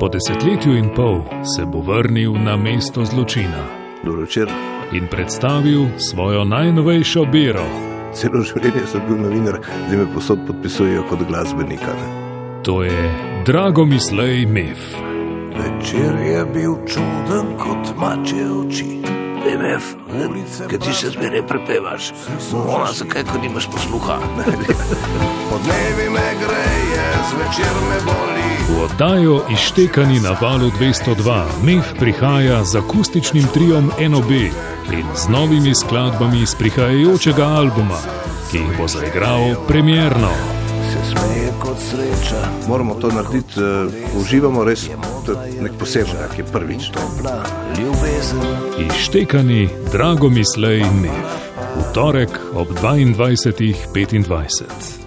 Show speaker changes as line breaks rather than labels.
Po desetletju in pol se bo vrnil na mesto zločina
Dobro večer.
in predstavil svojo najnovejšo biro.
Celo življenje sem bil novinar, zdaj me posod podpisujejo kot glasbenika. Ne.
To je Dragomislej Mef.
Večer je bil čuden kot mače oči. MF, kaj ti še zmeraj prepevaš? Ona, zakaj, ko nimaš posluha? Podnevi me greje, zvečer me boli.
V oddajo Ištekani na valu 202 Mef prihaja z akustičnim triom NOB in z novimi skladbami iz prihajajočega albuma, ki jih bo zaigral premjerno.
Se smeje kot sreča. Moramo to narediti, eh, uživamo res to je nek poseben, ki je prvič.
Ištekani Dragomislej Mef. V torek ob 22.25.